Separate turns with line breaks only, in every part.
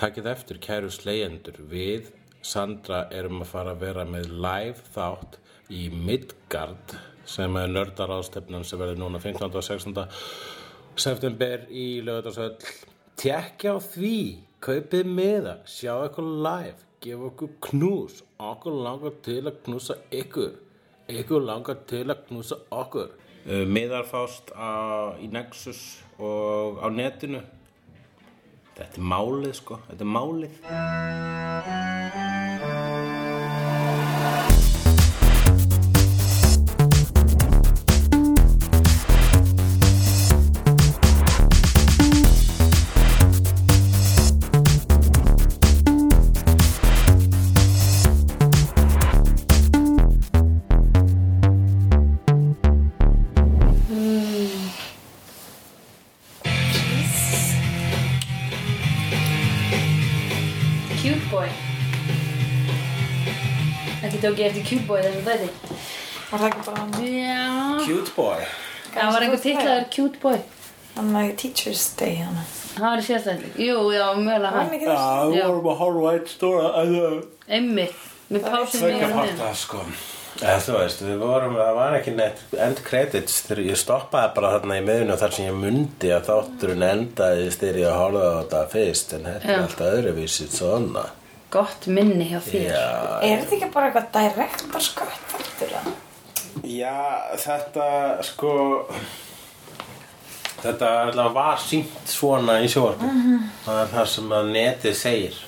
Takið eftir, kæru slegjendur, við, Sandra, erum að fara að vera með live þátt í Midgard sem er nördaráðstefnun sem verður núna 15. og 16. september í lögutarsöll. Tekja á því, kaupið miða, sjá eitthvað live, gefa okkur knús, okkur langar til að knúsa ykkur, ykkur langar til að knúsa okkur. Uh, Miðar fást á, í Nexus og á netinu. Þetta er málið sko, þetta er málið.
Cute boy Ekki tók ég eftir cute boy þessum þætti
Var það ekki bara hann?
Já
Cute boy.
Það var einhver titlaður cute boy
Hann var ekki Teacher's Day hann.
Það var í síðast þætti Jú, já, mjögulega
Var hann
hann
ekki þess?
Já.
að horfa eitt stóra að
Einmitt Með pásum í
Sveika
öndin
parta sko. Eða, þú veist, við vorum, það var ekki neitt end credits þegar ég stoppaði bara þarna í miðun og þar sem ég mundi að þátturinn endaði styrir ég að horfa á þetta fyrst en þetta er
Já.
alltaf öðruvísið svona.
Gott minni hjá þér
Já,
Er þetta ekki bara eitthvað direktar skvætt þáttur hann?
já, þetta sko, þetta allavega var sínt svona í sjórnum.
Mhm.
Það er það sem að netið segir.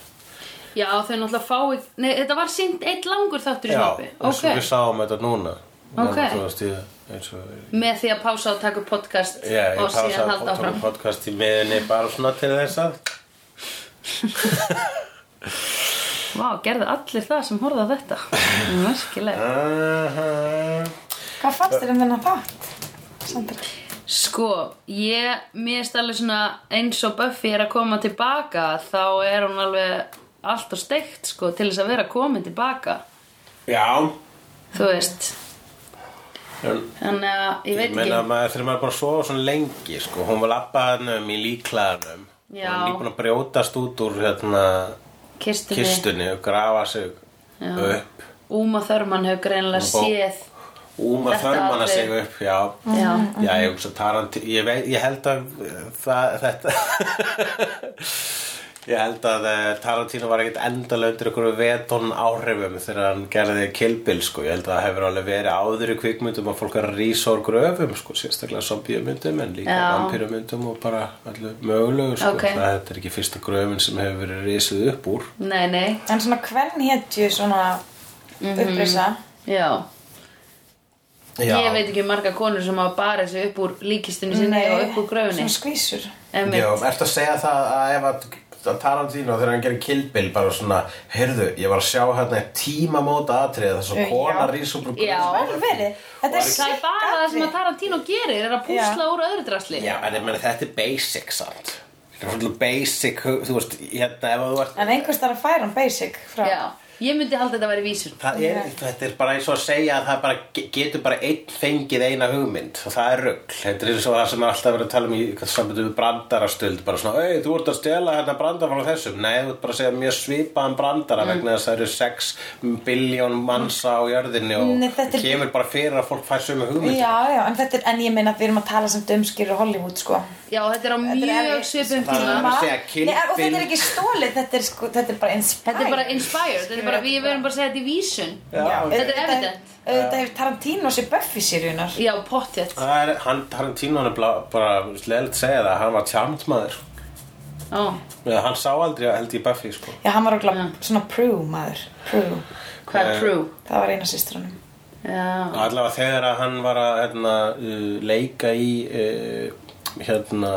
Já, þau náttúrulega fáið Nei, þetta var sínt eitt langur þáttur í snappi
eins og við
Ok
sáum þetta núna
Ok.
Núna, þú veist, ég, eins og
Með því að pása og taka upp podcast
Já, ég
Og síðan
pásaði
halda
tók
áfram
podcast í miðunni bara svona til þess að
Vá, gerðu allir það sem horfða þetta Merkilega
Aha.
Hvað fannst þér um þennan þátt? Sandra?
Sko, ég, mér erst alveg svona eins og Buffy er að koma tilbaka þá er hún alveg allt og steikt sko til þess að vera komin tilbaka,
Já
þú veist
en,
þannig að ég
Ég
veit
meina
ekki
maður þegar maður er bara að sofa svona lengi sko. Hún var labbaðanum í líklaðanum Hún
Já.
er líkbúin að brjótast út úr hérna,
kistunni,
kistunni og grafa sig
Já.
upp
Úma Þörmann hefur greinlega
Bó-
séð
Úma
Þetta
þörmana
atrið.
sig upp, já
Já.
Já, ég hugsa Tarantino ég, veit, ég held að eh, það, þetta Ég held að eh, Tarantino var ekkert endalega undir einhverju vetón áhrifum þegar hann gerði Kill Bill sko. Ég held að það hefur alveg verið áður í kvikmyndum að fólk er að rísa úr gröfum sko, sérstaklega zombíumyndum en líka
Já.
vampírumyndum og bara allir mögulegu sko.
Ok.
það, þetta er ekki fyrsta gröfin sem hefur verið risið upp úr
nei, nei,
En svona hvern hétju svona
Mhm.
upprisa?
já
Já.
ég veit ekki um marga konur sem hafa barið sig upp úr líkistunni sinni og upp úr gröfinni
svona skvísur.
Einmitt.
Já, ertu að segja það að ef að að Tarantino þegar hann gerir Kill Bill bara svona, heyrðu, ég var að sjá hérna tímamóta atrið þess að
Já.
kona rís upp úr gröfu.
Já.
Vel verið. Þetta er
það er bara það sem að
það...
Tarantino gerir er að púsla úr öðru drasli
Já, en ég meni þetta er basic samt Þetta er svona basic, þú veist, hérna ef þú ert
En einhvers þar að færa hann basic frá.
Já. ég myndi halda þetta að vera vísun
Það er, þetta er bara eins og að segja að það bara ge- getur bara einn fengið eina hugmynd og það er rugl. Þetta er eins og það sem er alltaf verið að tala um í sambundu við brandarastöld bara svona, ei, þú ert að stela hérna brandar frá þessum. Nei, þú ert bara að segja mjög svipaðan brandara vegna þess að það eru 6 biljón mansa á jörðinni og
Nei, þetta er-
kemur bara fyrir að fólk fær sömu hugmynd.
Já, já, en þetta er, en ég meina að við erum að tala samt um skýru Hollywood, sko.
Já, þetta er á
Þetta er
mjög
erfitt.
svipum
Það er
tíma
að
Ma-
segja Kill
Nei, og þetta
Bill.
er ekki stólið, þetta er, sko, þetta er bara inspired.
Þetta er bara inspired, þetta er bara, við verðum bara að segja þetta í vísun
Já,
Þetta er evident.
Þetta hefur Tarantino sér Buffy seríunar.
Já, pottjett
það er, hann, Tarantino hann er bla- bara slegilt segja það, hann var tjámt maður.
Ó,
Eða, Hann sá aldrei held ég Buffy, sko.
Já, hann var okkur svona Prue maður. Prue.
hvað er true?
Það var eina sýstranum.
Eh, Já,
Allavega þegar að hann var að hérna, uh, leika í uh, hérna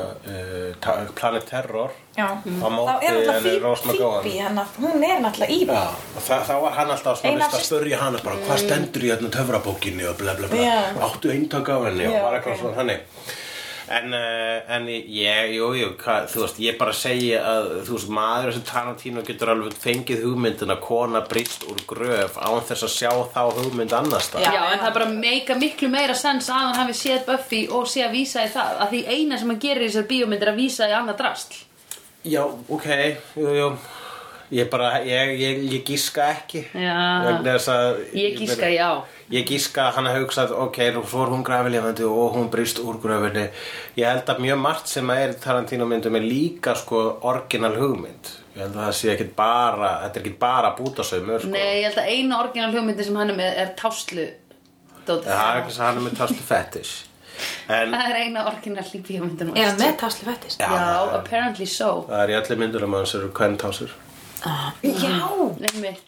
uh, ta- Planet Terror
Já.
Mm.
á
Mm. Þá
móti
er náttúrulega
henni
Phoebe-
Rose McGowan
Phoebe, hann, hún er náttúrulega í.
Já, og þa þá var hann alltaf svona
Eina
fyrst að
fyrst-
spörja hana bara hvað stendur í hérna töfrabókinni og bla bla bla
Mm. Já.
áttu eintak af henni
Já,
og var eitthvað
ok.
svona þannig en, uh, en ég, jú, jú, hva, þú veist ég bara segi að þú veist maður sem Tarantino getur alveg fengið hugmyndin að kona brist úr gröf án þess að sjá þá hugmynd annars það
Já,
já en
já.
það bara meika miklu meira sens að hann hafi séð Buffy og sé að vísa í það að því eina sem hann gerir í þessar bíómynd er að vísa í annað drasl
Já, ok, jú, jú. Ég bara, ég, ég, ég gíska ekki.
Já.
Vegna þess að...
Ég gíska
meina-
já.
Ég gíska að hann hafði hugsað, ok, nú svo er hún grafilefandi og hún brist úr grafinni. Ég held að mjög margt sem að er í Tarantino myndum er líka sko orginal hugmynd. Ég held að það sé ekkit bara, þetta er ekkit bara bútasaumur sko.
Nei, ég held að eina orginal hljómyndi sem hann er með er táslu dótið.
Það er ekki þess að hann er með tastu fetish. En
Það er eina orginal hljómyndin.
Er hann með tásli fættist?
Já, apparently so.
það er í allir myndunum að hans eru kventásur.
Ah.
Já.
Nei mitt.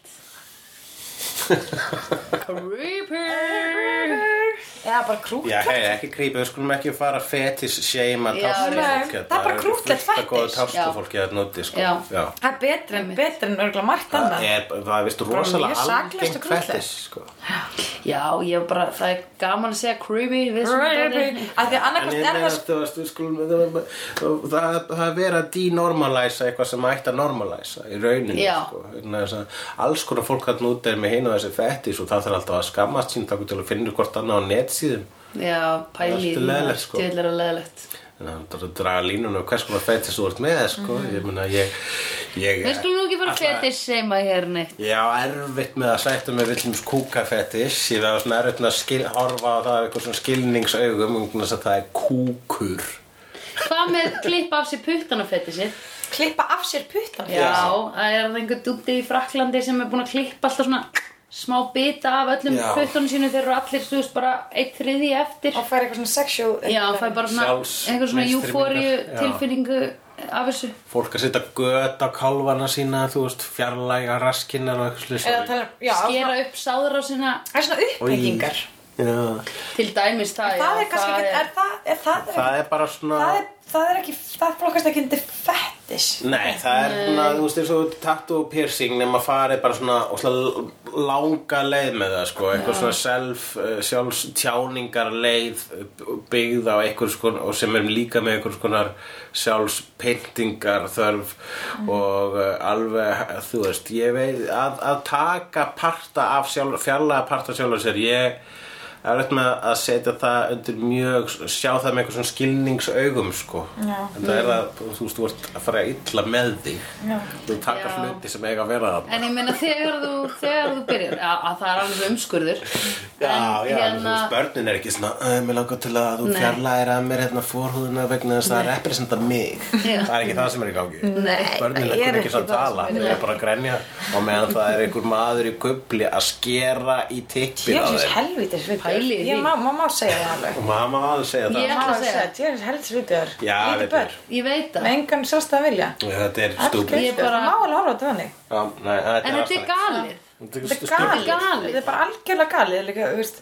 Creeper.
Eða bara krútt.
Já, hei, ekki grípa, við skulum ekki fara fetish seima
Já,
nei,
táskufólk
það er bara krúttlegt
hérna. Það er
fetish.
góða
Já.
táskufólk ég að noti, sko
Já.
Það er betri en, betri en örgulega margt
Það
annað.
er, það er vist
mjög
rosalega
saklaust og
algengt
krúttlegt.
fetish, sko
Já, ég var bara, það er gaman að segja creepy við sem dótið.
Af því að
En
annarkvæmst
ég
er
meina,
það sko...
þú veist, við skulum það- Það það er verið að denormalæsa eitthvað sem ætti að normalæsa í rauninni,
Já.
sko Vegna þess að Alls konar fólk hann út er með hinu þessi fetish og það þarf alltaf að skammast sín takku til að finna hvort annað á netsíðum
Já, pæli.
Allt er leiðilegt, sko.
Djöðlega leðilegt.
En það er að draga línuna og hvers konar fetish þú ert með, sko
Mm.
Ég meina, ég, ég
Við skulum nú ekki fara að
Alla-
fletis seima hér neitt.
Ég á erfitt með að sætta með villums kúkafetis Ég verða svona erfitt með að skil, horfa á það af eitthvað svona skilningsaugum um þess að það er kúkur
Hvað með klippa af sér puttana fetisið?
klippa af sér puttan.
Já, það er einhver dúti í Fraklandi sem er búin að klippa alltaf svona smá bita af öllum
Já.
puttunum sínu þeir eru allir, þú veist, bara eitt þriði eftir.
Og fær eitthvað svona sexual...
Já, það er bara svona
Sjálfs-
einhver svona
meistrimyndar.
júfóriu
Já.
tilfinningu af þessu.
Fólk að setja göt á kálfana sína þú veist, fjarlæga raskinnar og eitthvað
Eða
slið
tala... Já,
Skera upp sáður á sína
það er svona uppbyggingar.
Já,
til dæmis
Það
það. já,
er kannski ekki... Er það... Er það... Er,
það er bara svona
það er, það er ekki, það flokkast ekki undir fettis
Nei, það er svona, þú veist, eins og tattoo og piercing nema farið bara svona óslega langa leið með það, sko eitthvað svona self, uh, sjálfs tjáningar leið uh, byggð á einhvers konar, og sem er líka með einhvers konar sjálfs pyntingar þörf og uh, alveg, þú veist, ég veit að, að taka parta af sjálf, fjarlæga parta sjálf sér, ég Það er rétt með að setja það undir mjög, sjá það með eitthvað svona skilningsaugum sko.
Já. Mm.
En það er það, þú veist, þú ert að fara illa með þig.
Já.
Þú takkar
Já.
hluti sem eiga að vera það.
En ég meina þegar þú, þegar þú byrjar, að, að það er alveg umskurður.
Já,
En
já,
hérna-
þú veist, börnin er ekki svona, "Æ, mér langar til að þú
Nei.
fjarlæðir að mér hérna fórhúðuna vegna þess að það representa mig.
Já.
Það er ekki það sem er í gangi.
Nei,
Börnin er
það er
ekki, ekki
ekki
svona
það sem
tala,
er í
þau er bara að grenja og meðan það er einhver maður í kubli að skera í tippin á
Jésús
þeim.
helvítis við
Pælið í því.
Ég má, má, má segja það alveg
Og maður má að segja það.
Ég
Má
ætla að
alveg
segja,
segja, Jésús helvítis við þér
Já, veitir.
ég veit það.
Með engan sjálfstæða vilja
Þetta er stúpid.
Ég
Ég
bara-
bara Má alveg horfa á þetta þannig
Já, nei, þetta
En þetta er
astanlegt.
galið.
Þetta er galið
galið.
Þetta er bara algjörlega galið líka, þú veist.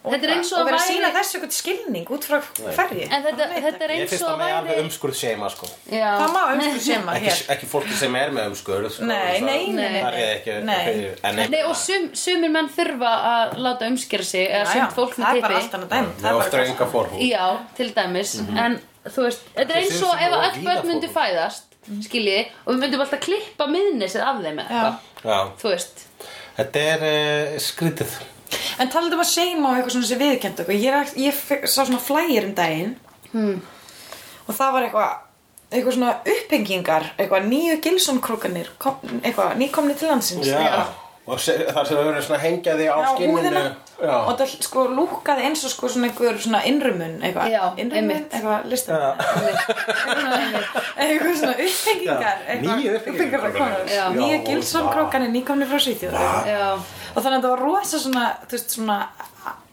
Þetta er eins og
Og
að
vera að
væri-
sína þessu eitthvað skilning út frá hverju
En þetta, þetta er
Ég
eins
finnst
og
það
að
með alveg
væri...
umskurð seima sko
Já.
Það má umskur sema
ekki,
Ah, hér
ekki fólki sem er með umskurð sko,
Nei,
það-
nei, nei, nei.
Það er ekki
Nei.
fyrir- en
Nei, og sum, sumir menn þurfa að láta umskera sig
Já,
eða
já,
sumt fólk
Það
með
er bara allt
tippi.
annað dæm
Með ofta enga fórhú
Já, til dæmis,
Mhm.
en þú veist, þetta er
Þetta
eins
séu
og
sem
ef
of
að öll
víða
börn myndu
fólk.
fæðast,
Mhm.
skiljiði, og við myndum alltaf klippa miðnissið af þeim eða
Já.
eitthvað,
Já,
þú veist.
þetta er uh, skrítið
En talandi um að seima og eitthvað svona sem viðkjönd okkur Ég, er- ég fe- sá svona flægir um daginn
Hmm.
Og það var eitthvað eitthvað svona upphengingar, eitthvað nýju Gilson-krókanir, kom- eitthvað nýkomni til landsins.
Já, og se, það sem verður svona að hengja þig á
Já,
skinninu
húðina
Já,
og það sko lúkaði eins og sko svona einhver svona innrumun eitthvað,
Já,
innrumun,
einmitt.
eitthvað listan eitthvað svona upphengingar
Já,
eitthvað-
nýju uppbyggingar.
uppbyggingar konur.
Já.
nýju
Já,
Gilson
vá.
krókan er nýkomni frá Svíþjóð og
Já,
þannig að það var rosa svona þú veist svona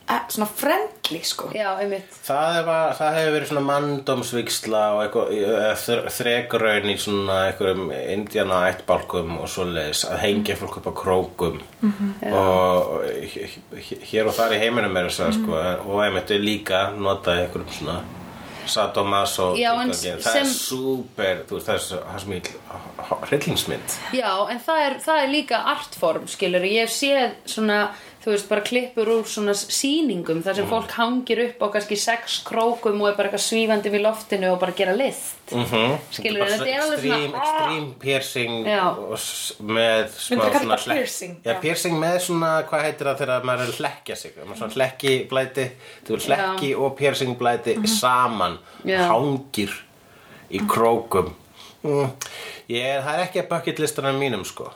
a- svona friendly sko
já, einmitt.
það, var, það hefur verið svona manndómsviksla og eitthvað, eh, þr- þrekraun í svona einhverjum indiana ættbálkum og svoleiðis að hengja fólk upp á krókum
Mhm.
og h- h- hér og þar í heiminum er þess að sko
Mhm.
og einmitt er líka notað í einhverjum svona sadomas og
Já, en
það er
sem-
súper, þú veist, það er svo- það er sem ég hryllingsmynd
Já, en það er, það er líka artform, skilur, ég hef séð svona, þú veist, bara klippur úr svona sýningum þar sem
Mm.
fólk hangir upp á kannski sex krókum og er bara eitthvað svífandi við loftinu og bara gera list. Mm -hmm.
Mhm.
Skilur,
Bara
þetta er alveg svona...
extreme, extreme piercing
Já.
og s- með smá
Myndirðu kalla
svona
það
hlekk-
piercing?
Já,
Já.
piercing með svona, hvað heitir það þegar maður er að hlekkja sig maður er svona hlekki blæti þú veist hlekki
Mhm.
og piercing blæti saman
Já.
hangir í krókum Mm, ég, það er ekki að bucket listanum mínum sko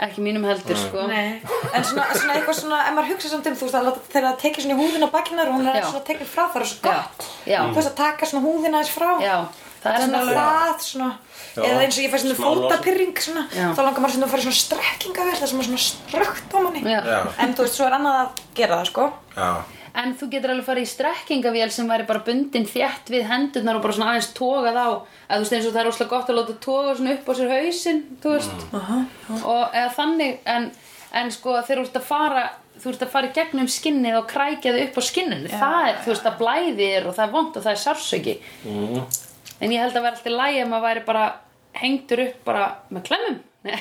Ekki mínum heldur,
Mm.
sko.
Nei, en svona, svona eitthvað svona, ef maður hugsa samt um, þú veist, að láta- þegar það tekið svona í húðina á bakkinar, hún er
Já.
aðeins svona tekið frá, það er svo
Já.
gott.
Já.
Þú veist, að taka svona húðina aðeins frá.
Já, það er
svona
nefnilega-
það, svona,
Já.
eða eins og ég fæ svona
Smá
fótapyrring, svona,
Já.
þá langar maður svona að fara í svona strekkingavel, það sem er svona strökt á manni.
Já.
Já.
En þú veist, svo er annað að gera það, sko.
Já,
En þú getur alveg farið í strekkingavél sem væri bara bundin þétt við hendurnar og bara svona aðeins tókað á að þú veist eins og það er óslega gott að láta tóka svona upp á sér hausinn, þú veist og eða þannig, en, en sko þegar þú ert að fara þú ert að fara í gegnum skinnið og krækja þau upp á skinninu það er, þú veist, það blæðir og það er vont og það er sársöki en ég held að vera alltaf lægi að maður væri bara hengdur upp bara með klemmum Nei.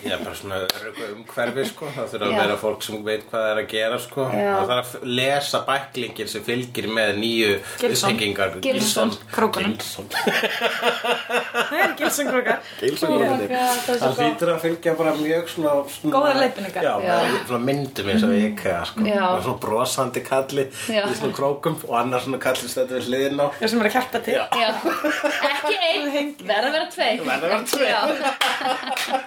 ég er bara svona öruggu umhverfi sko, það þurfa
Já.
að vera fólk sem veit hvað það er að gera sko
Já.
það þarf að lesa bæklingir sem fylgir með nýju
Gilson.
uppbyggingar
Gilson.
Krókunum.
Gilson,
Það er gilsum krokar.
Gilson.
Oh my
Gilson.
God, það er svo
Það
gott.
hlýtur að fylgja bara mjög svona, svona
Góðar leiðbeiningar.
Já,
Já.
með svona myndum eins og IKEA sko
Já.
Og Svona brosandi kalli
Já.
í svona krókum og annar svona kalli stættu við hliðin á
sem er að hjálpa til.
Já.
Já, ekki einn, verða að vera tveir
Verða að vera tveir.
Já.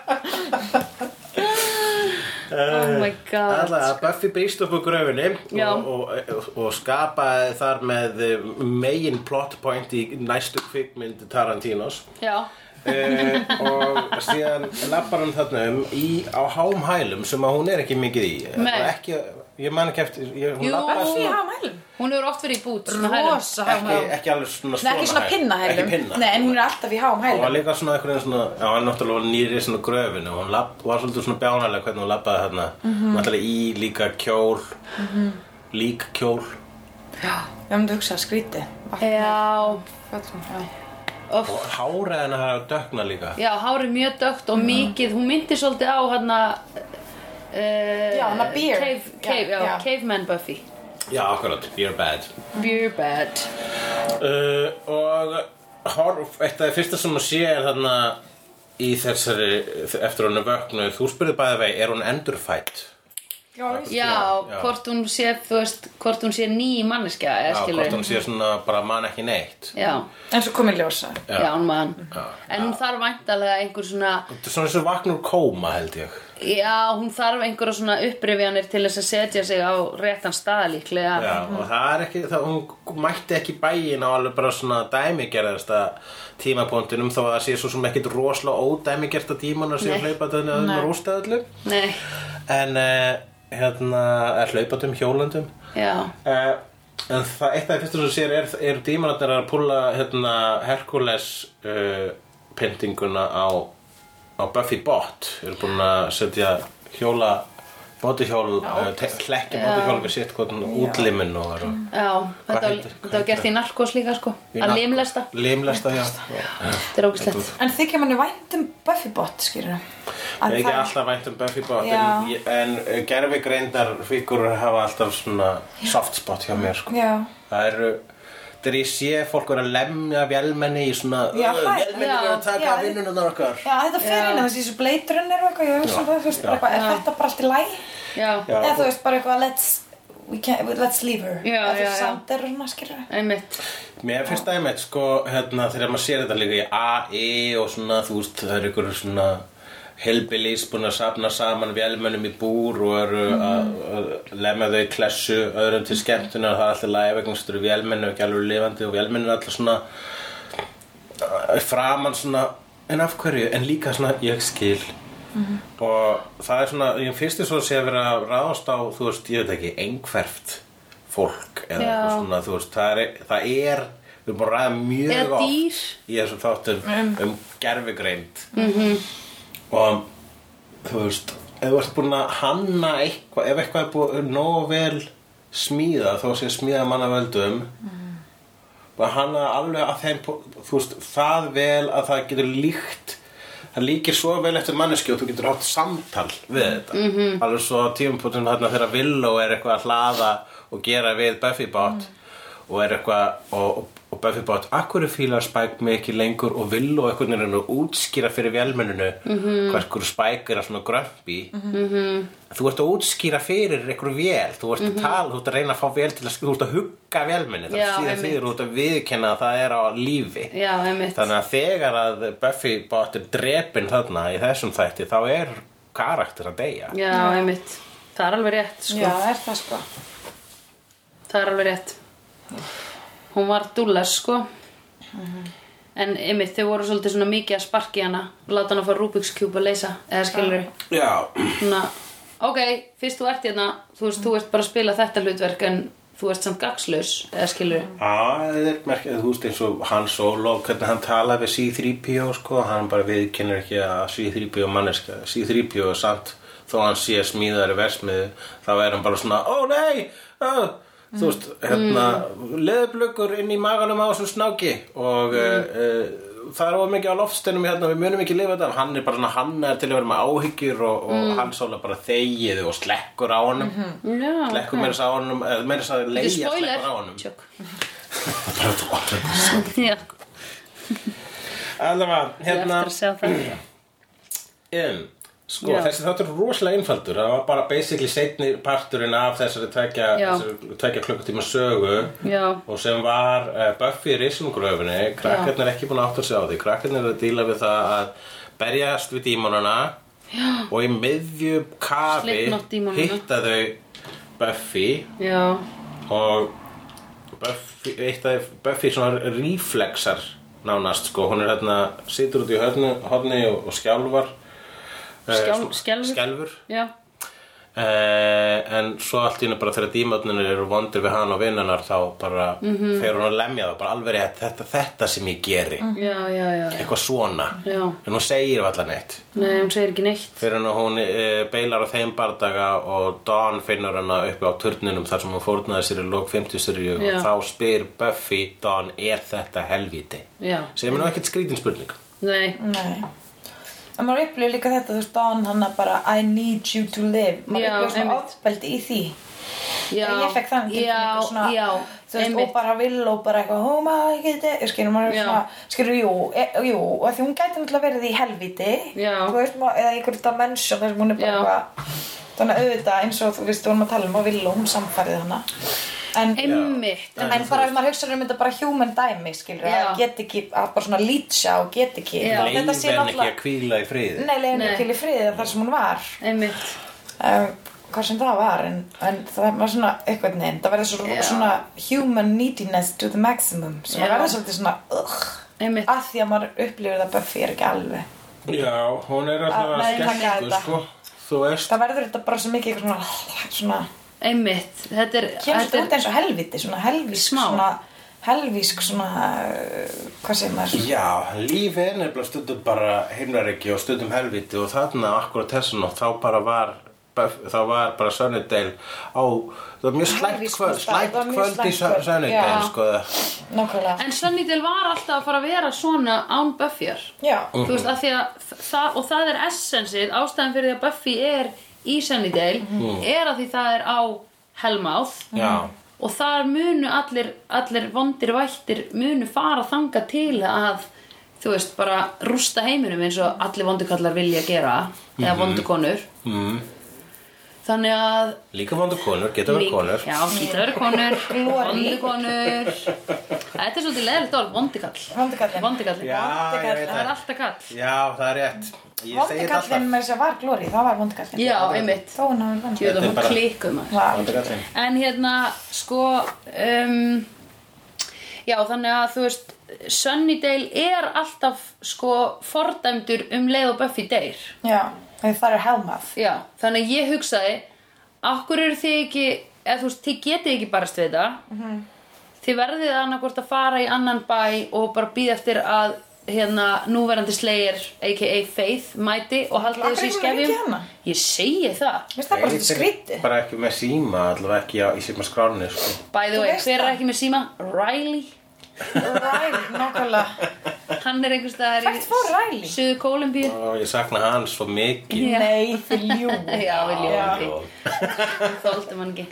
Oh my god
Eh, Alla, Buffy býst upp úr gröfinni
Já.
og, og, og, og skapaði þar með eh, megin plot point í næstu kvikmynd Tarantinos
Já,
eh, og síðan lappar hann þarna um í, á hám hælum sem að hún er ekki mikið í
Nei.
Og ekki, ég man ekki eftir ég, hún
Jú.
labbaði
Buffy
svona-
hafa mælum.
hún hefur oft verið í bút svona hælum.
Rosa hafa
ekki,
mælum.
ekki alveg svona
Nei, ekki svona
hæl.
pinna
Ekki
hælum.
pinna.
Nei, en hún er alltaf í háum
Hún var
hælum.
líka svona einhvern veginn svona, já, hann náttúrulega var nýri svona gröfinu og hún lapp, var svolítið svona bjánalega hvernig hún labbaði þarna. Mm
Mhm.
-hmm. Náttúrulega í líka kjól, mm -hmm. lík kjól.
Ég myndi hugsa að skríti.
Já,
Já.
of,
Og hárið hennar það er að dökna líka.
já, hárið mjög dögt
Mm.
og mikið Hún myndi svolítið á hann að
Já, hana Beer.
cave, cave,
Já,
já,
já.
Caveman Buffy
Já, akkurat, you're bad.
Beer bad
Uh, og horf, eitt af því fyrsta sem hún sé er þarna í þessari, eftir hún er vöknuð, þú spurði bæði vei, er hún endurfætt?
Já, ég-
Já,
Já.
hvort hún sé, þú veist, hvort hún sé ný manneskja
Já,
eða skilur
hvort hún sé svona bara man ekki neitt.
Já,
En svo komið ljósa.
já, hún man En hún þarf væntalega einhver svona
Þetta er svona eins og vaknur kóma held ég.
Já, hún þarf einhverja svona upprifjanir til þess að setja sig á réttan stað líklega.
Já, og það er ekki, það, hún mætti ekki bæin á alveg bara svona dæmigerðasta tímapunktinum þó að það sé svo sem ekkit rosalega ódæmigerðta tíman að sé
Nei.
hlaupatöðinu að
Nei.
rústa öllu
Nei,
en uh, hérna, er hlaupatum, hjólandum
já,
uh, en það, eitt af því fyrstu sem sér er, er dímanarnir að púla hérna Herkules uh, pyntinguna á, á Buffy Bot eru búin að setja hjóla bótihjól, uh, te- hlekki bótihjól við sitt hvort útlimin og eru
já, þetta var,
heitir-
þetta var gert í narkos líka sko,
Í
að
nafn-
limlesta,
Limlesta, já
þetta er ógislegt.
En þykja manni vænt um Buffy bot, skýrur
Það er ekki alltaf vænt um Buffy Bot
Já.
En, ég- en gerfi greindar fígurur hafa alltaf svona soft spot hjá mér sko.
Já.
Það eru Þegar ég sé fólk vera að lemja vélmenni í svona
Já,
"Ö,
hæ-
Vélmenni
já,
eru að taka
já.
af vinnunar okkar
Já, þetta fer inn að þessi þessu bleitrunnir og eitthvað, ég hugsa um það, þú veist, bara eitthvað, er þetta bara allt í læg?
Já,
Já.
Eða þú veist, bara eitthvað, let's, we can, let's leave her.
Já,
Eða þú
já,
veist,
já.
samt er hún að skýrur
einmitt,
Mér finnst það einmitt sko hérna, Þegar maður sér þetta líka í A, E og svona Þú veist það eru ykkur svona Helbilís búin að safna saman vélmönnum í búr og eru að- að lemja þau í klessu öðrum til skemmtunar það er alltaf læg vegna þess að þetta eru vélmenn og ekki alveg lifandi og vélmenn er alltaf svona uh, framan svona en af hverju, en líka svona ég skil
Mhm.
og það er svona, ég fyrst þess að sé að vera að ráðast á, þú veist, ég veit ekki einhverft fólk eða
Já.
eitthvað svona, þú veist, það er, það er við erum búin að ræða mjög
Eða
oft
dýr. Mm.
í þessum þáttum um gerfugreind mm
Mhm.
-hmm. og þú veist ef þú ert búin að hanna eitthvað ef eitthvað er búin nógu vel smíða þó sé smíða manna völdum og hanna alveg að þeim þú veist, það vel að það getur líkt það líkir svo vel eftir manneski og þú getur átt samtal við þetta -hmm.
Mhm.
alveg svo tímupútin þarna þegar
Mm.
Villó er eitthvað að hlaða og gera við Buffy bát og er eitthvað og, og, og Buffy bát, akkur fílar Spike mig ekki lengur og vill og einhvern veginn er að útskýra fyrir velmenninu mm
Mhm.
-hmm. hvað ekkur Spike er að svona grömpi mm -hmm. þú ert að útskýra fyrir einhverju vél, þú ert að tala þú ert að reyna að fá vél til að, þú ert að hugga velmenni það
Mhm. Já,
er síðan
einmitt.
þýður, þú ert að viðkenna að það er á lífi
Já, einmitt.
þannig að þegar að Buffy bát er drepin þarna í þessum þætti þá er karakter að deyja
Já, einmitt. Það er alveg rétt, sko.
Já, er það sko
Það er alveg rétt. Hún var dúllar, sko. En einmitt, þau voru svolítið svona mikið að sparki hana og láta hana að fá Rubik's Cube að leysa, eða skilur
Já,
svona, Hérna, ok, fyrst þú ert hérna, þú veist, þú ert bara að spila þetta hlutverk en þú ert samt gagslaus, eða skilur
Já, það er merkið, þú veist eins og hann solo, hvernig hann talaði við C-3PO sko, hann bara viðkennir ekki að C-3PO manneska, C-3PO er sant, þó hann sé smíðari versmiðu, þá er hann bara svona, ó nei, ó, þú veist, hérna,
Mm.
leðublöggur inn í maganum á þessum snáki og mm. uh, það er of mikið á loftsteinum hérna, við munum ekki lifa þetta, hann er bara svona hann er til að vera með áhyggjur og, og
Mm.
hann solo bara þegið og slekkur á honum,
Mhm. Já,
slekkur meira þess að honum, eða meira þess að
Þetta er
leiða
spoiler
slekkur á honum.
Tjók.
Það er bara þú allir þessu.
Já,
Allavega,
ég er eftir
hérna,
að segja það
um, sko,
Já.
þessi þáttur er rosalega einfaldur. Það var bara basically setni parturinn af þessari tvekja,
Já.
þessari tvekja klukkutíma sögu
Já,
og sem var uh, Buffy í risungröfinni. Krakkarnir er ekki búin að átta sig á því. Krakkarnir er að díla við það að berjast við dímonana Já. og í miðju kafi
Slipknot dímonana.
hitta þau Buffy
já,
og Buffy, eitt af Buffy svona reflexar nánast sko, hún er hérna situr út í hodni, hodni og, og skjálfar Eh,
Skjál-
sm-
skelfur.
skelfur.
já
Eh, en svo allt í henni bara þegar dímatnir eru vondir við hann og vinnunar þá bara
Mhm.
fer hún að lemja það bara alveg rétt, þetta, þetta sem ég geri
Já, já, já,
eitthvað svona
Mm. já
en hún segir allan neitt
Nei, hún segir ekki neitt
fyrir hann að hún e, beilar á þeim bardaga og Dawn finnur hana uppi á turninum þar sem hún fórnaði sér í lók 50 seríu
Já.
og þá spyr Buffy Dawn er þetta helvíti
Já,
sem er nú ekkert skrítin spurning
nei,
Nei En maður upplifir líka þetta, þú veist, Don hann að bara I need you to live Maður
Já,
upplifir svona
einmitt.
ofbeldi í því
já
Ég fekk þannig
Já,
tilfinningu svona
já,
Þú veist, og
einmitt
bara vill og bara eitthvað Oh my god, ég skilur maður
Já.
svona Skilur, jú, e, jú Og af því hún gæti náttúrulega verið í helviti
Já.
Þú veist, maður, eða einhver dimension þar sem hún er bara
Já.
eitthvað Þannig að auðvitað eins og þú veist, þú erum að tala um og vill og hún samfærið hana En,
Einmitt,
en, bara ef maður hugsaður um þetta bara human dæmi, skilur
Já.
Að get ekki, að bara svona lýtsa og get ekki
Já.
Þetta
leif
sé
en ekki
náttúrulega-
að kvíla í friði
Nei, leiðin
Nei.
til í friði þar sem hún var
einmitt
um, Hvað sem það var en, en það var svona eitthvað neginn Það verður svo,
Já.
svona human neediness to the maximum sem
Já.
það verður svolítið svona ugh,
Einmitt.
að því að maður upplifir það Buffy er ekki alveg
já, hún er
Að
alltaf að
meðtaka
skellku
þetta.
sko. þú veist
Það verður þetta bara svo mikið eitthvað svona, svona
Einmitt, þetta er,
kemur
þetta
þetta út
er
eins og helviti svona helvísk
Smá.
svona helvísk svona uh, hvað segir maður
Já, lífið er nefnilega stundum bara heimlaríki og stundum helviti og þarna akkurat þessan og þá bara var Buff- þá var bara Sunnydale á, það var mjög slæmt
Helvísku
kvöld
stað,
slæmt
það var mjög
kvöld í
slæmt kvöld,
Sunnydale
já.
sko
nákvæmlega
En Sunnydale var alltaf að fara að vera svona án Buffyar
Já,
Þú veist, af því að það, og það er essensið, ástæðan fyrir því að Buffy er í Sunnydale er að því það er á Hellmouth
Já,
og þar munu allir, allir vondir vættir munu fara þanga til að þú veist, bara rústa heiminum eins og allir vondukallar vilja gera eða vondukonur mm. þannig að
líka vondur konur, geta verið konur
já, gítarkonur,
Glory.
vondukonur þetta er svolítið leðilegt orð, vondikall
vondikallin
vondikall,
Já, ég veit
það er
það
alltaf kall
Já, það er rétt Ég segi þetta
Vondikallin
alltaf
með þess að var glóri, það var vondikallin
já, einmitt,
Þó hún hafði
ég veit
Þetta er
að hún
bara-
klikkuð maður
vondikallin
Vondukallinn
En hérna, sko, um, já, þannig að þú veist, Sunnydale er alltaf, sko, fordæmdur um leið og Buffy deyr.
Já, þau fara helmað
Já, þannig að ég hugsaði, akkur eru þið ekki, eða þú veist, þið getið ekki barast við þetta. Þið verðið annarkvort að fara í annan bæ og bara býða eftir að, hérna, núverandi slegir, a.k.a. Faith, mæti og haldið
Akkur
þessi
er
í
hún
skefjum.
ekki hana?
Ég segi það.
Mér finnst það bara svolítið skrítið
Bara ekki með síma, allavega ekki á- í síma skráni sko.
By the
Þú
way,
veist
hver er
það.
ekki með síma? Riley.
Ræl, nákvæmlega
Hann er einhvers staðar
Hvert fór Riley?
Suðu Kólumbíu
Ó, Ég sakna hans svo mikið
Já.
Nei, fyrir ljú
Já, við ljóðum
Já.
ekki Þóldum hann ekki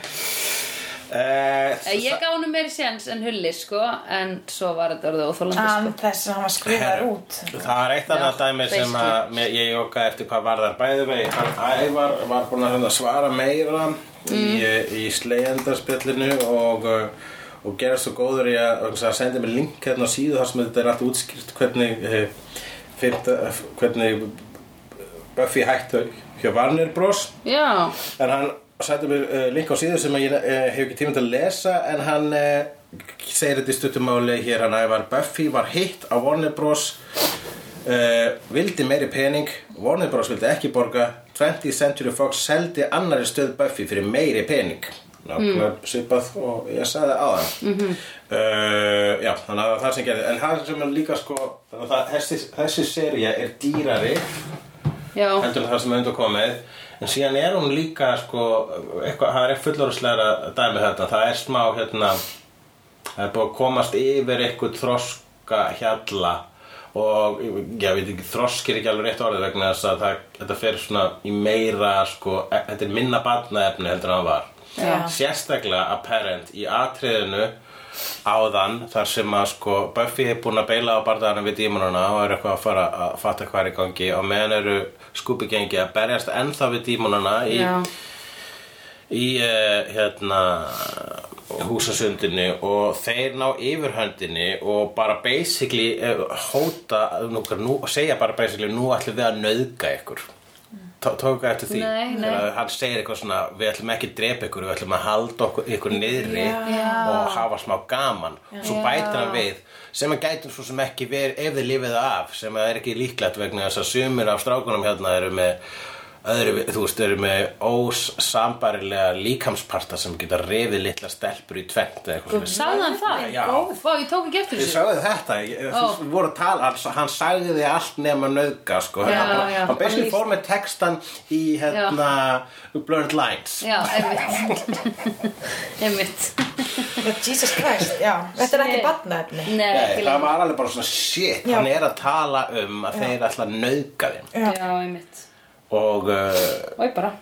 Eh, Ég gaf honum meiri séns en hulli sko En svo var þetta orðið
Hann
óþólandi sko
þess að hann var skrifaður út
Það er eitt annað
Já,
dæmi sem að mér- ég joggaði eftir hvað var þar bæði vegi. Hann Ævar var búinn að hérna svara meira í, í slegjandarspjallinu og, uh, og gerði svo góður í að, að segja, sendi mér link hérna á síðu þar sem þetta er allt útskýrt hvernig, eh, fyrta, hvernig Buffy hættu hjá Varnir Bros.
Já,
En hann sætti mér uh, link á síðu sem ég uh, hef ekki tíma til að lesa en hann uh, segir þetta í stuttumáli hér hann ævar Buffy var hitt á Warner Bros. Uh, vildi meiri pening, Warner Bros. vildi ekki borga 20th Century Fox seldi annari stöð Buffy fyrir meiri pening Nákvæmlega svipað og ég sagði aðan mm -hmm. uh, Já, þannig að það var það sem gerði En það sem er líka sko þannig að það, þessi, þessi sería er dýrari
já,
heldur en það sem er undir komið en síðan er hún líka sko, eitthvað, það er fullorðslega dæmi þetta, það er smá hérna það er búið að komast yfir eitthvað þroska hjalla og ég veit ekki þroskir ekki alveg rétt orðið vegna þess að það, þetta fer svona í meira sko, e- þetta er minna barnaefni heldur en það var
Já.
sérstaklega apparent í atriðinu áðan þar sem að sko Buffy er búin að beila á barðanum við dímonuna og er eitthvað að fara að fatta hvað er í gangi og meðan eru Scooby gengi að berjast ennþá við dímonuna í,
já
í uh, hérna húsasundinni og þeir ná yfirhöndinni og bara basically eh, hóta, nú, nú, segja bara basically nú ætlum við að nauðga ykkur Tó- tóku eftir því
Nei, nei.
Þegar hann segir eitthvað svona við ætlum ekki að drepa ykkur, við ætlum að halda okkur, ykkur niðri og hafa smá gaman svo bætir hann við sem að gætum svo sem ekki verið ef þið lifið af sem að er ekki líklegt vegna þess að sumir af strákunum hérna eru með öðru, þú veist, eru með ósambarilega líkamsparta sem geta reyfið litla stelpur í tvent eða eitthvað svoleiðis.
Sagði hann það?
Já.
Vá, ég tók ekki eftir
Þið
þessu
sagði þetta, ég,
Ó.
oh. við voru að tala, hann, hann sagði þið allt nema nauðga, sko.
Já,
hann, bara-
já.
Hann basically
Hann
fór með textan í, hérna, Blurred Lines.
Já, einmitt Einmitt
But Jesus Christ, já Þetta er ekki
Shit.
badnaefni
Nei,
Nei,
ekki
það
lengur
var alveg bara svona shit,
Já.
hann er að tala um að þeir ætla að nauðga þeim.
Já, einmitt
Og uh,
Oi, bara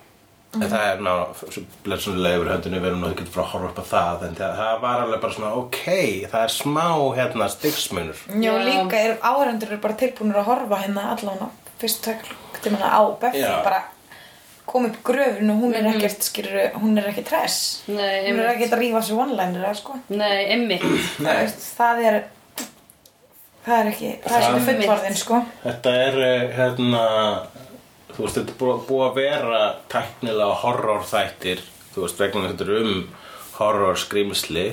Mhm.
En það er ná, bleið svona leiður höndinu, við erum nú ekki frá að horfa upp á það, en það, það var alveg bara svona, ok, það er smá, hérna, stigsmunur.
Já,
Já.
líka er áhörendur eru bara tilbúinur að horfa hérna allan á fyrstu tökultímana á Buffy
Já.
bara kom upp gröfin og hún er ekkert skýrur, hún er ekki tress
Nei,
hún er
einmitt.
ekkert að rífa sér one-liner eða, sko.
Nei, einmitt
það, veist, það er það er ekki, það er
Það-
svona fullvarðin sko.
Þetta er, eh, hérna, þú veist, þetta er búið- búið að vera tæknilega horrorþættir, þú veist, vegna þetta er um horrorskrimsli,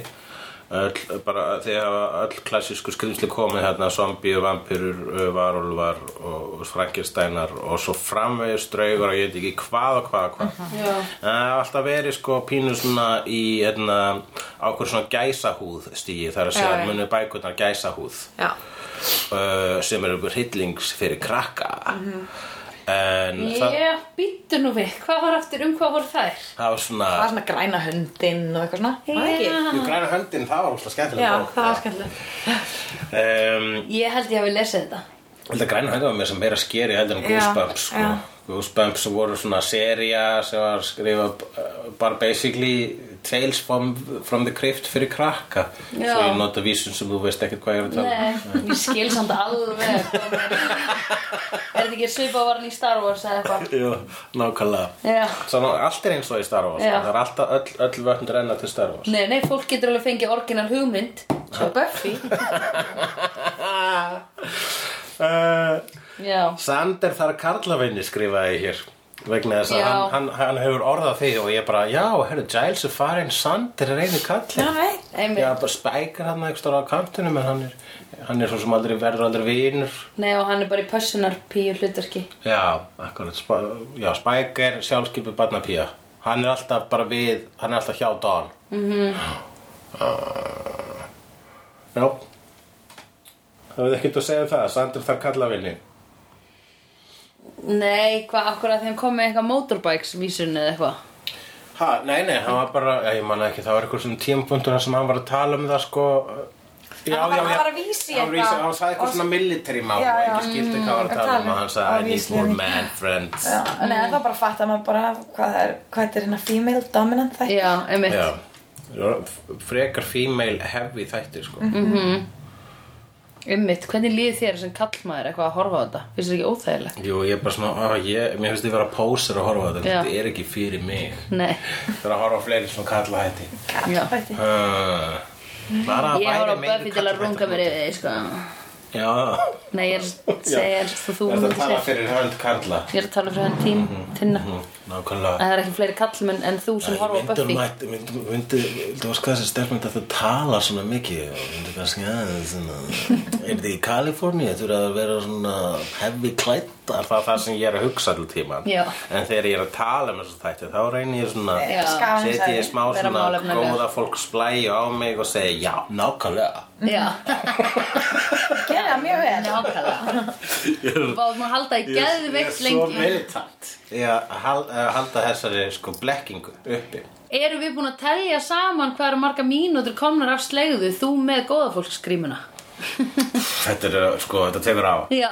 öll, bara því að öll klassísku skrimsli komið hérna, zombíu, vampýrur, varulvar og, og frankistænar og svo framvegis draugur og ég veit ekki hvað og hvað og hvað.
Já,
En það hefur alltaf verið sko pínu svona í einna, ákveður svona gæsahúð stíi þar að segja
Já, já.
munu bækurnar gæsahúð
já.
uh, sem eru hryllings fyrir krakka
Mhm.
en það,
ég býttu nú við Hvað var aftur, um hvað voru þær?
það var svona
það er svona græna hundin og eitthvað svona var það ekki?
Ah.
Jú, græna höndin, það var húslega skemmtilega
já, það var skemmtilegt
skemmtilega
Ég held ég hafi lesið þetta
Þetta græna höndin var mér sem meira skeri heldur en
Já,
Goosebumps sko.
já.
Goosebumps voru svona seria sem var skrifað uh, bara basically Tales from, from the Crypt fyrir krakka
Já.
Svo ég nota vísun sem þú veist ekkert hvað ég er að tala um.
Nei, ég skil samt alveg hvað hún Er Er þetta ekki svipað var hann í Star Wars eða eitthvað?
Já, nákvæmlega
Já
Svo allt er eins og í Star Wars
Já.
Það er alltaf öll, öll vötn renna til Star Wars
Nei, nei, fólk getur alveg fengið orginal hugmynd
svo Buffy
uh,
Já,
Sander þar Karlavinni skrifaði hér vegna þess að
Já.
hann, hann, hann hefur orðað því og ég bara, já, herru, Giles er farinn Sander er einu kallinn
já, nei
einmitt
Já, bara spækir hann eitthvað á kantinum en hann er, hann er svo sem aldrei verður aldrei vinur
Nei, og hann er bara í pössunar píu hlutverki
Já, akkurat, spæ, já, Spike er sjálfskeipu barnapía Hann er alltaf bara við, hann er alltaf hjá Dawn mm -hmm. Já Það við ekkert að segja um það, Sander þarf kallafinni
Nei, hvað, akkur að þeim kom með eitthvað motorbikes vísun eða eitthvað
Ha, nei, nei, hann var bara, já, ég manna ekki, það var eitthvað svona tímapunktur þar sem hann var að tala um það sko Já,
Hann
já,
var-
já
hann var að vísa
Hann
í
var að
eitthvað.
vísa- Hann sagði eitthvað svona military mál
Já,
og
já.
ekki skilti hvað var að
Að
tala um
tala um.
og hann sagði I need
Obviously.
more man friends
Já, nei, það bara fattar maður bara hvað, það er, hvað þetta er hérna female dominant þetta
Já, einmitt
Já, frekar female heavy þættir sko.
Ummitt, hvernig líður þér sem kallmaður eitthvað að horfa á þetta? Finnst þér ekki óþægilegt?
Jú, ég er bara svona, á, ég, mér finnst ég vera pósir að horfa á þetta,
Já.
þetta er ekki fyrir mig.
Nei,
Það er að horfa á fleiri svona kalla hætti.
já.
Þætti.
Uh, bara
Ég horf
væri
á
meiri
Buffy til að
karlþættir.
runga mér yfir þig, sko.
Já,
Nei, ég er að segja eins og þú
þetta
myndir
tala
segja.
fyrir hönd karla.
Ég er að tala fyrir hann tím, tinna.
Mm, Nákvæmlega.
En það er ekki fleiri kallmenn en þú sem horfa á
Myndur
Buffy.
mætti, myndur, myndur, þú veist hvað þessi stelpmynd að þú tala svona mikið og myndur kannski aðeins svona, er þetta í Kaliforníu, þú eru að vera svona hefði klættar, það er það sem ég er að hugsa til tíman,
Já.
en þegar ég er að tala með þessu þætti þá reynir ég svona,
Já.
setja ég smá
Vera
svona
málefnaleg.
góða fólk splæju á mig og segja já, nákvæmlega.
Já,
Gerði það mjög vel.
nákvæmlega. Báðum að halda í geðveikt lengi.
militant. Ég hal, eh, halda þessari sko blekkingu uppi.
Erum við búin að telja saman hvað eru marga mínútur komnar af slegðu þú með góðafólkskrímuna?
Þetta er eh, sko, þetta tekur á.
Já.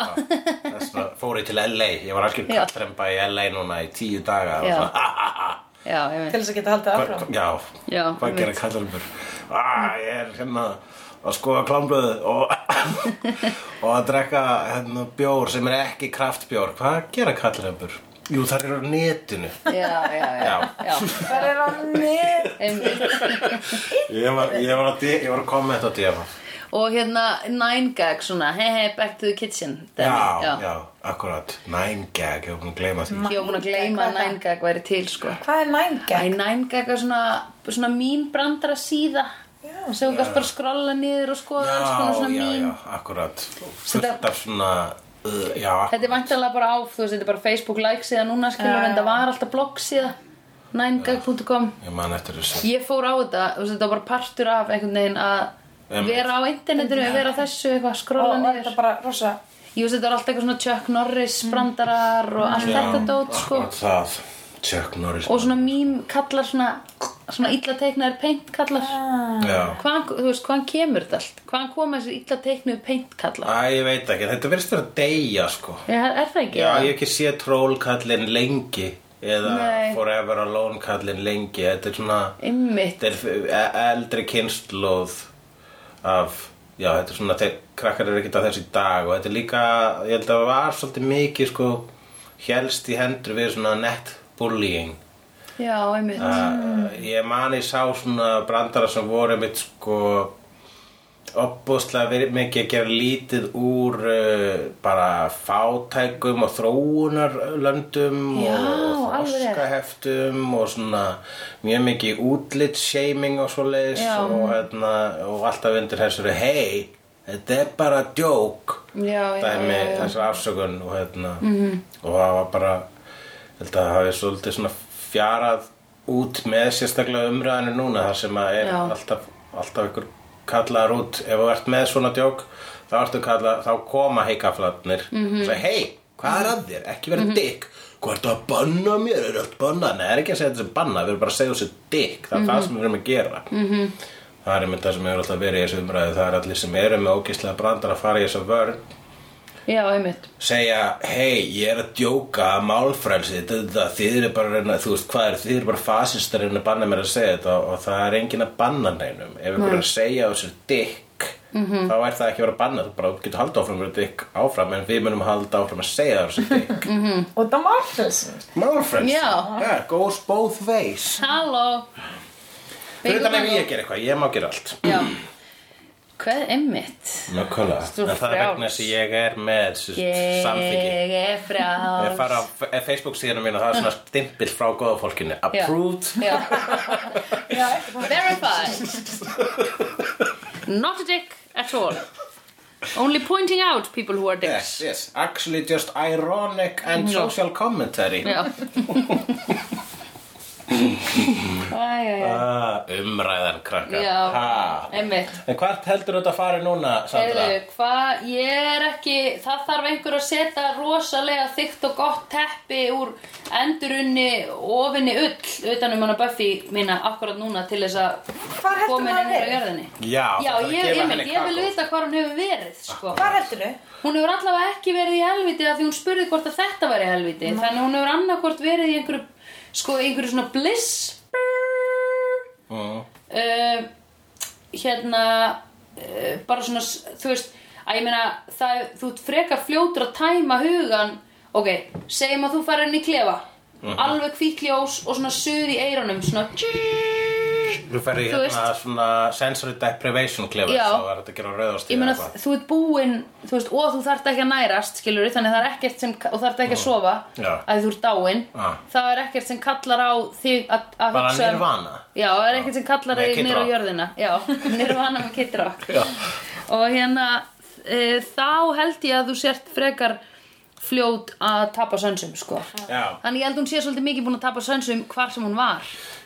Þess vegna fór ég til LA, ég var algjör
Já.
kallremba í LA núna í tíu daga og
Já.
svona, ha ha ha
Já,
Til
ég veit.
þess að geta haldið
Hva-
áfram.
Já,
Já,
hvað
einmitt.
gera kallrembur? Ah, ég er hérna að skoða klámblöðu og, og að drekka hérna, bjór sem er ekki kraftbjór. Hvað gera kallrembur? Jú, það eru á netinu.
Já, já, já. Já,
Það er að nýr.
einmitt.
Ég var, ég var, að, di- ég var að koma þetta á djöfa.
Og hérna nine gag svona, hei hei, back to the kitchen
Já,
dæmi,
já, akkurat. Nine gag, ég var búin að gleyma því.
Ég var búin að gleyma að nine gag væri til sko
Hvað er nænga?
Æ, nine gag er svona, svona mín brandara síða sem þú kannast bara skrolla niður og skoða alls konar
Já,
svona
já,
mín
já, akkurat.
Þetta-
Fullt af svona, uh, já,
Þetta er vantanlega bara á, þú veist, þetta er bara Facebook like síða núna skilur, en þetta var alltaf blogg síða ninegag.com
ég man eftir þessu.
Ég fór á þetta, þú veist, þetta var bara partur af einhvern veginn að
Einmitt.
vera á internetinu, vera á þessu, eitthvað, skrolla
Og
niður
þetta bara rosa.
Ég veist þetta var alltaf eitthvað svona Chuck Norris brandarar og allt þetta dót sko
Akkurat það, Chuck Norris.
og svona mím kallar svona svona illa teiknaðir paint kallar
Já.
hvaðan, þú veist, hvaðan kemur þetta allt hvaðan koma þessi illa teiknuðu paint kallar
Æ, ég veit ekki, þetta verðist vera að deyja, sko.
Já, er, er það ekki?
Já,
það?
ég hef ekki sé trollkallin lengi eða
Nei.
Forever Alone kallin lengi. Þetta er svona,
Einmitt,
þetta er e- eldri kynnslóð af já, þetta er svona, þeir krakkar eru ekkert að þessu í dag og þetta er líka, ég held að það var svolítið mikið sko, helst í hendur við svona net bullying
já, einmitt
uh, ég mani sá svona brandara sem voru mitt sko opbúslega verið mikið að gera lítið úr uh, bara fátækum og þróunarlöndum
Já,
og
alveg rétt.
þroskaheftum og svona mjög mikið útlitshaming og svoleiðis
Já.
og, hérna, og alltaf undir þessari hei, þetta er bara djók
Já, já,
dæmi
já, Mhm. já.
þessar afsökun og hérna og það var bara ég held að það hafi svolítið svona fjarað út með sérstaklega umræðinu núna þar sem að er
Já.
alltaf, alltaf ykkur kallaðar út ef þú ert með svona djók þá, ertu kallað, þá koma heikaflatnir mm
Mhm.
-hmm. og segja hei, hvað er að þér? ekki verið mm -hmm. dykk hvað ertu að banna mér? er allt banna? Nei, það er ekki að segja þetta sem banna við erum bara að segja þessu dykk það er
Mhm.
það sem við erum að gera mm -hmm. það er einmitt það sem hefur alltaf verið í þessu umræðu það er allir sem eru með ógislega brandar að fara í þessu vörn
Já, einmitt
segja, hei, ég er að djóka að málfrælsi, þetta, þetta, þið eru bara að reyna, þú veist hvað er, þið eru bara fasistar að reyna að banna mér að segja þetta og, og það er engin að banna neinum, ef ykkur er að segja þessu dykk,
Mhm.
-hmm. þá er það ekki að vera að banna, þú bara getur haldið áfram að vera dykk áfram, en við munum halda áfram að segja þessu dykk
Og það málfrelsin.
málfrælsi,
Mhm. Já.
yeah, goes both ways
Halló
fyrir þetta nefnir ég að gera eitthvað, ég má gera allt
Já Hvað, einmitt? Þú
nákvæmlega, en það er
frjáls.
vegna þess að ég er með yeah. samþyggi
Ég er frá
Ég fara á f- eh, Facebook síðanum mín og það er svona stimpill frá góða fólkinu Approved
Verified. Not a dick at all. Only pointing out people who are
Yes,
dicks.
yes, actually just ironic and social commentary
Já. Æ, já, já.
ah, Umræðan krakka
Já.
ha.
Einmitt.
En hvert heldur þetta að fara núna, Ah. Sandra?
Heyrðu, hvað, ég er ekki, það þarf einhver að setja rosalega þykkt og gott teppi úr endurunni ofinni ull utan um hana Buffy mína akkurat núna til þess að
Hvar heldur
koma
hún hafi
henni hér á
verið?
jörðinni.
Já, það
já
þarf að
ég,
gefa
ég,
henni
ég, ég vil
kakó.
vita hvar hún hefur verið, sko.
Hvað heldur þau?
Hún hefur allavega ekki verið í helviti af því hún spurði hvort að þetta væri helviti þannig að hún hefur annarkvort verið í einhverju sko, einhverju svona bliss
Mm.
uh, hérna uh, bara svona, s- þú veist að ég meina, það, þú ert frekar fljótur að tæma hugan ok, segjum að þú farir inn í klefa alveg hvítljós og svona suð í eironum svona
Þú ferði
Þú
hérna
veist-
svona sensory deprivation klefa
Já.
þá er þetta að gera rauðast
ég meina, þú ert búinn þú veist, og þú þarft ekki að nærast, skilur þannig að það er ekkert sem, og þarft ekki að sofa
Já.
að þú ert dáinn,
Já.
það er ekkert sem kallar á þig að, að
Bara
hugsa um-
nirvana.
já, það er ekkert sem kallar
Nei,
þig
Kid
niður á
Rock.
jörðina já, nirvana með kittrák
Já.
og hérna e, þá held ég að þú sért frekar fljót að tapa sönsum sko.
Já.
þannig ég held hún sé svolítið mikið búin að tapa sönsum hvar sem hún var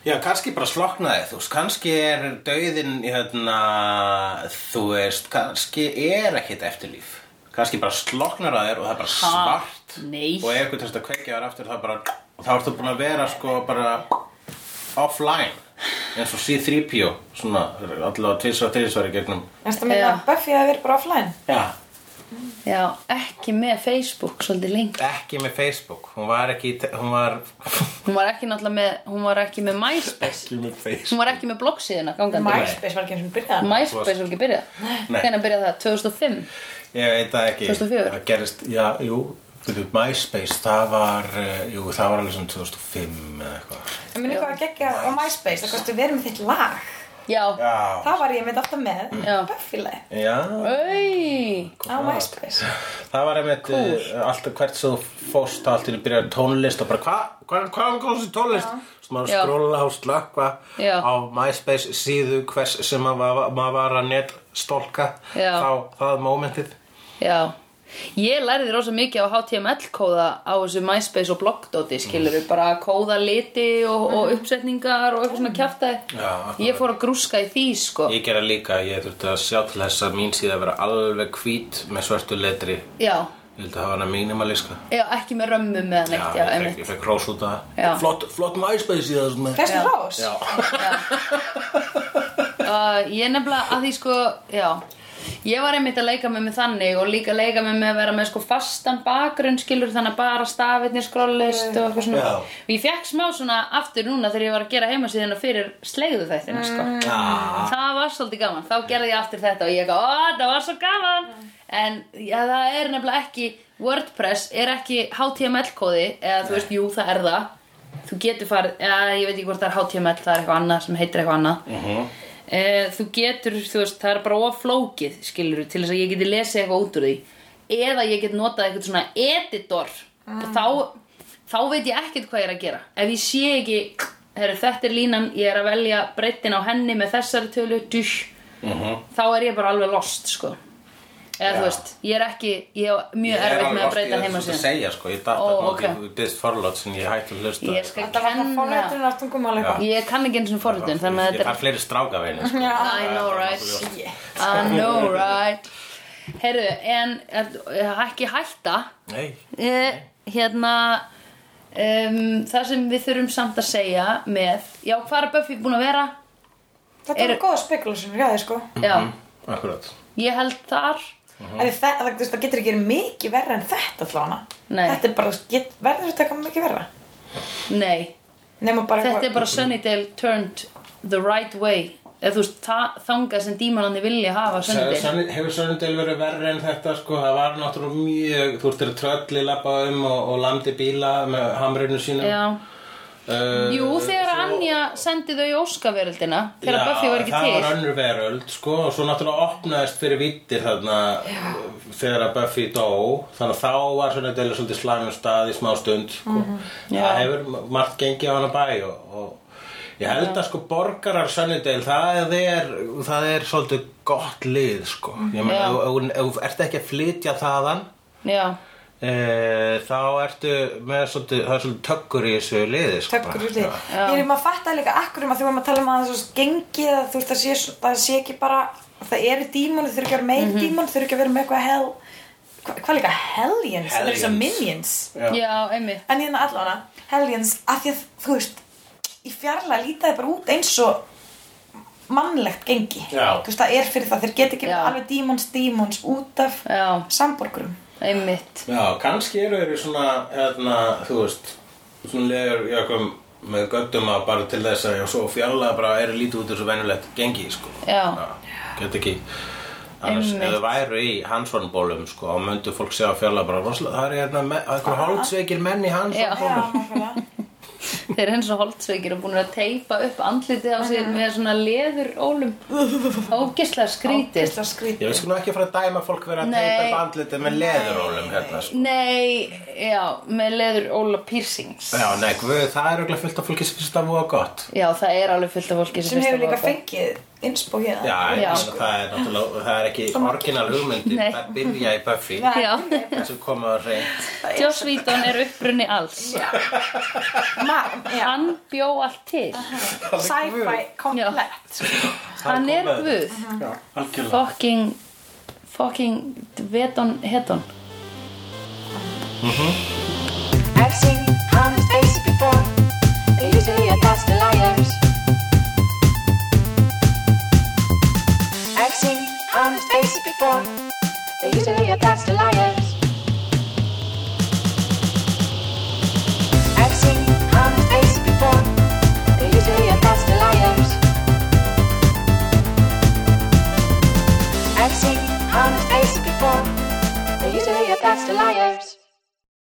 Já, kannski bara sloknaði, þú veist, kannski er dauðin, hérna, þú veist, kannski er ekkit eftirlíf. Kannski bara sloknar að þér og það er bara
Ha,
svart.
nei.
Og ef einhvern tæst að kveikja þér aftur, það bara, þá ertu búin að vera, sko, bara offline. En svo C-3PO, svona, allavega tvisvar, tvisvar í gegnum.
Erstu að meina
Já.
að Buffy hafi verið bara offline?
Já.
já, ekki með Facebook svolítið lengi
Ekki með Facebook, hún var ekki, í te- hún var...
hún var ekki náttúrulega með, hún var ekki með MySpace
Ekki með Facebook.
hún var ekki með bloggsíðina gangandi
MySpace var ekki eins og byrjaði hana.
MySpace var ekki byrjað
Nei.
hvernig byrjað það? 2005?
Ég veit það ekki
2004?
Það gerist, já, jú Fyrir MySpace, það var eh, Jú, það var alveg sem 2005 eða eitthvað
Ég minni hvað að gegja á MySpace, það kosti verið með þitt lag.
já, já.
Já,
Það var ég með alltaf með
Já.
Buffy-lag
já
Oi.
á MySpace.
Það var einmitt cool. alltaf hvert sem þú fóst allt til að byrja tónlist og bara hvað, hvað, hvað er góðs í tónlist? Svo maður
Já.
skróla og slökva
Já.
á MySpace síðu hvers sem maður, var- maður var að netstólka
Já.
þá það momentið
Já, ég lærði rosa mikið á HTML-kóða á þessu MySpace og Blogdóti, skilur
Mm.
við, bara kóða liti og, og uppsetningar og eitthvað svona kjaftaði.
Já, akkurat.
Ég fór að grúska í því, sko.
Ég gera líka, ég þurfti að sjá til þess að mín síða að vera alveg hvít með svörtu letri
Já,
Ég vildi hafa hana minimalíska.
já, ekki með römmum eða neitt, já,
ég fekk-
einmitt.
Ég fekk hrós út af
Já.
það. Flott, flott MySpace í þessum. með.
Hversu rós?
Já.
Uh, ég nefnilega að því, sko, já, ég var einmitt að leika með mig þannig og líka leika með mig að vera með sko fastan bakgrunn, skilur, þannig að bara stafirnir skrollist og eitthvað svona.
Já.
Og ég fekk smá svona aftur núna þegar ég var að gera heimasíðina fyrir slegðu þættina, sko.
Ah,
Það var svolítið gaman, þá gerði ég aftur þetta og ég eitthvað, ó, það var svo gaman En já, það er nefnilega ekki, WordPress er ekki HTML-kóði Eða þú veist, jú, það er það Þú getur farið, eða ég veit ekki hvort það er HTML, það er eitthvað annað sem heitir eitthvað annað uh Þú getur, þú veist, það er bara oflókið, skilur til þess að ég geti lesið eitthvað út úr því Eða ég get notað eitthvað svona editor og Þá, þá veit ég ekkert hvað ég er að gera Ef ég sé ekki, herru, þetta er línan, ég er að velja breyttin á henni með þessari tölu, dush, þá er ég bara alveg lost, sko. Eða
Mhm. Já.
þú veist, ég er ekki, ég er mjög
ég er
erfitt
alveg
með að
lost,
breyta
Ég er þetta
heima
að
síðan.
segja sko, ég datt
Ó,
að móti
ok.
okay. byrst forlót sem ég hætti að hlusta.
Ég skal
Þetta var hann
kenna,
forrætturinn á tungumáli eitthvað.
ég kann ekki eins og forritun, þannig að
Ég
þetta
fær fleiri stráka veginni sko.
Já.
er, I know, right?
Yeah.
I know, right? Herru, en er- ekki hætta,
Nei.
Eh, hérna um, það sem við þurfum samt að segja með, já hvað er Buffy búin að vera
Þetta
Er-
var góða spekulasjónur, já þið sko.
já,
Mhm. Akkurat.
ég held þar Mhm.
Mm -hmm. það, það, þú veist, það getur ekki verið mikið verra en þetta allavega.
Nei.
Þetta er bara, get, verður þetta eitthvað mikið verra?
nei,
Nefnum bara
þetta er bara Sunnydale turned the right way eða þú veist, þa- þangað sem dímanandi vilja hafa Sunnydale
Sunny- Hefur Sönnudel verið verri en þetta sko, það var náttúrulega mjög, þú ert þeirra trölli lappa um og, og landi bíla með hamrinu sínum.
já,
Uh,
jú þegar
svo-
Anja sendi þau í óskaveröldina þegar
Já,
Buffy var ekki
það
til
var önnur veröld, sko, og svo náttúrulega opnaðist fyrir vittir þarna uh, þegar að Buffy dó, þannig að þá var svona deila svolítið slæmum stað í smá stund, sko. Það
Mhm, Já.
hefur margt gengið á hana bæ og, og ég held að sko borgarar Sunnydale, það er, það er svolítið gott lið, sko. Ég meina, ef-
Mhm. Já.
ef- ef þú ert ekki að flytja þaðan,
já,
e, þá ertu með svolítið, það er svolítið tökkur í þessu liði, sko.
Tökkur
bara.
úr því.
Já.
Ég er um að fatta líka akkur um að því vorum að tala um að það er svo gengið að þú veist það sé, það sé ekki bara, það eru dímon, þau eru ekki að vera meir mm
Mhm.
-hmm. dímon, þau eru ekki að vera með eitthvað hell, hvað, hvað líka, hellions, það eru svo
Hellions.
minions.
Já.
já, einmitt
En hérna allavega, hellions, að því að þú veist, í fjarlæg lítaði bara út eins og mannlegt gengi.
Já.
Þú veist, það er fyrir það, þeir geta ekki
Já.
alveg dímons, dímons út af
já,
samborgurum.
einmitt
Já, kannski eru þeir svona, hérna, þú veist, svona leður í okkur með göttum að bara til þess að já, svo fjarlæða bara er lítið út þessu venjulegt gengi sko.
Já.
get ekki annars ef þau væru í Hansson-bólum sko, og myndu fólk sjá fjarlæða bara rosalega, það er hérna me- eitthvað hálfsveikir menn í Hansson-bólum
Þeir eru eins og holdsveikir og búin að teipa upp andlitið á sig með svona leður ólum Ógislega skrítið
Ógeðslega skrítið.
Ég vil sko nú ekki fara að dæma fólk vera að
Nei.
teipa upp andlitið með leðurólum hérna sko.
Nei, já, með leður óla piercings
Já, nei, guð, það er auðvitað fullt af fólki sem finnst það voða gott.
Já, það er alveg fullt af fólki sem
sem
finnst
hefur
það
líka
voða gott.
fengið innspó hérna
Já,
Já.
já. Sko. það er náttúrulega, það er ekki orginal hugmyndi,
Nei.
það byrja í Buffy,
Nei.
Já,
þess að koma að reynd.
Joss Whedon er upprunni alls
Ma, já,
Hann bjó allt til
sci-fi komplett
Hann er guð
Já, algjörlega.
Fucking, fucking, veton, heton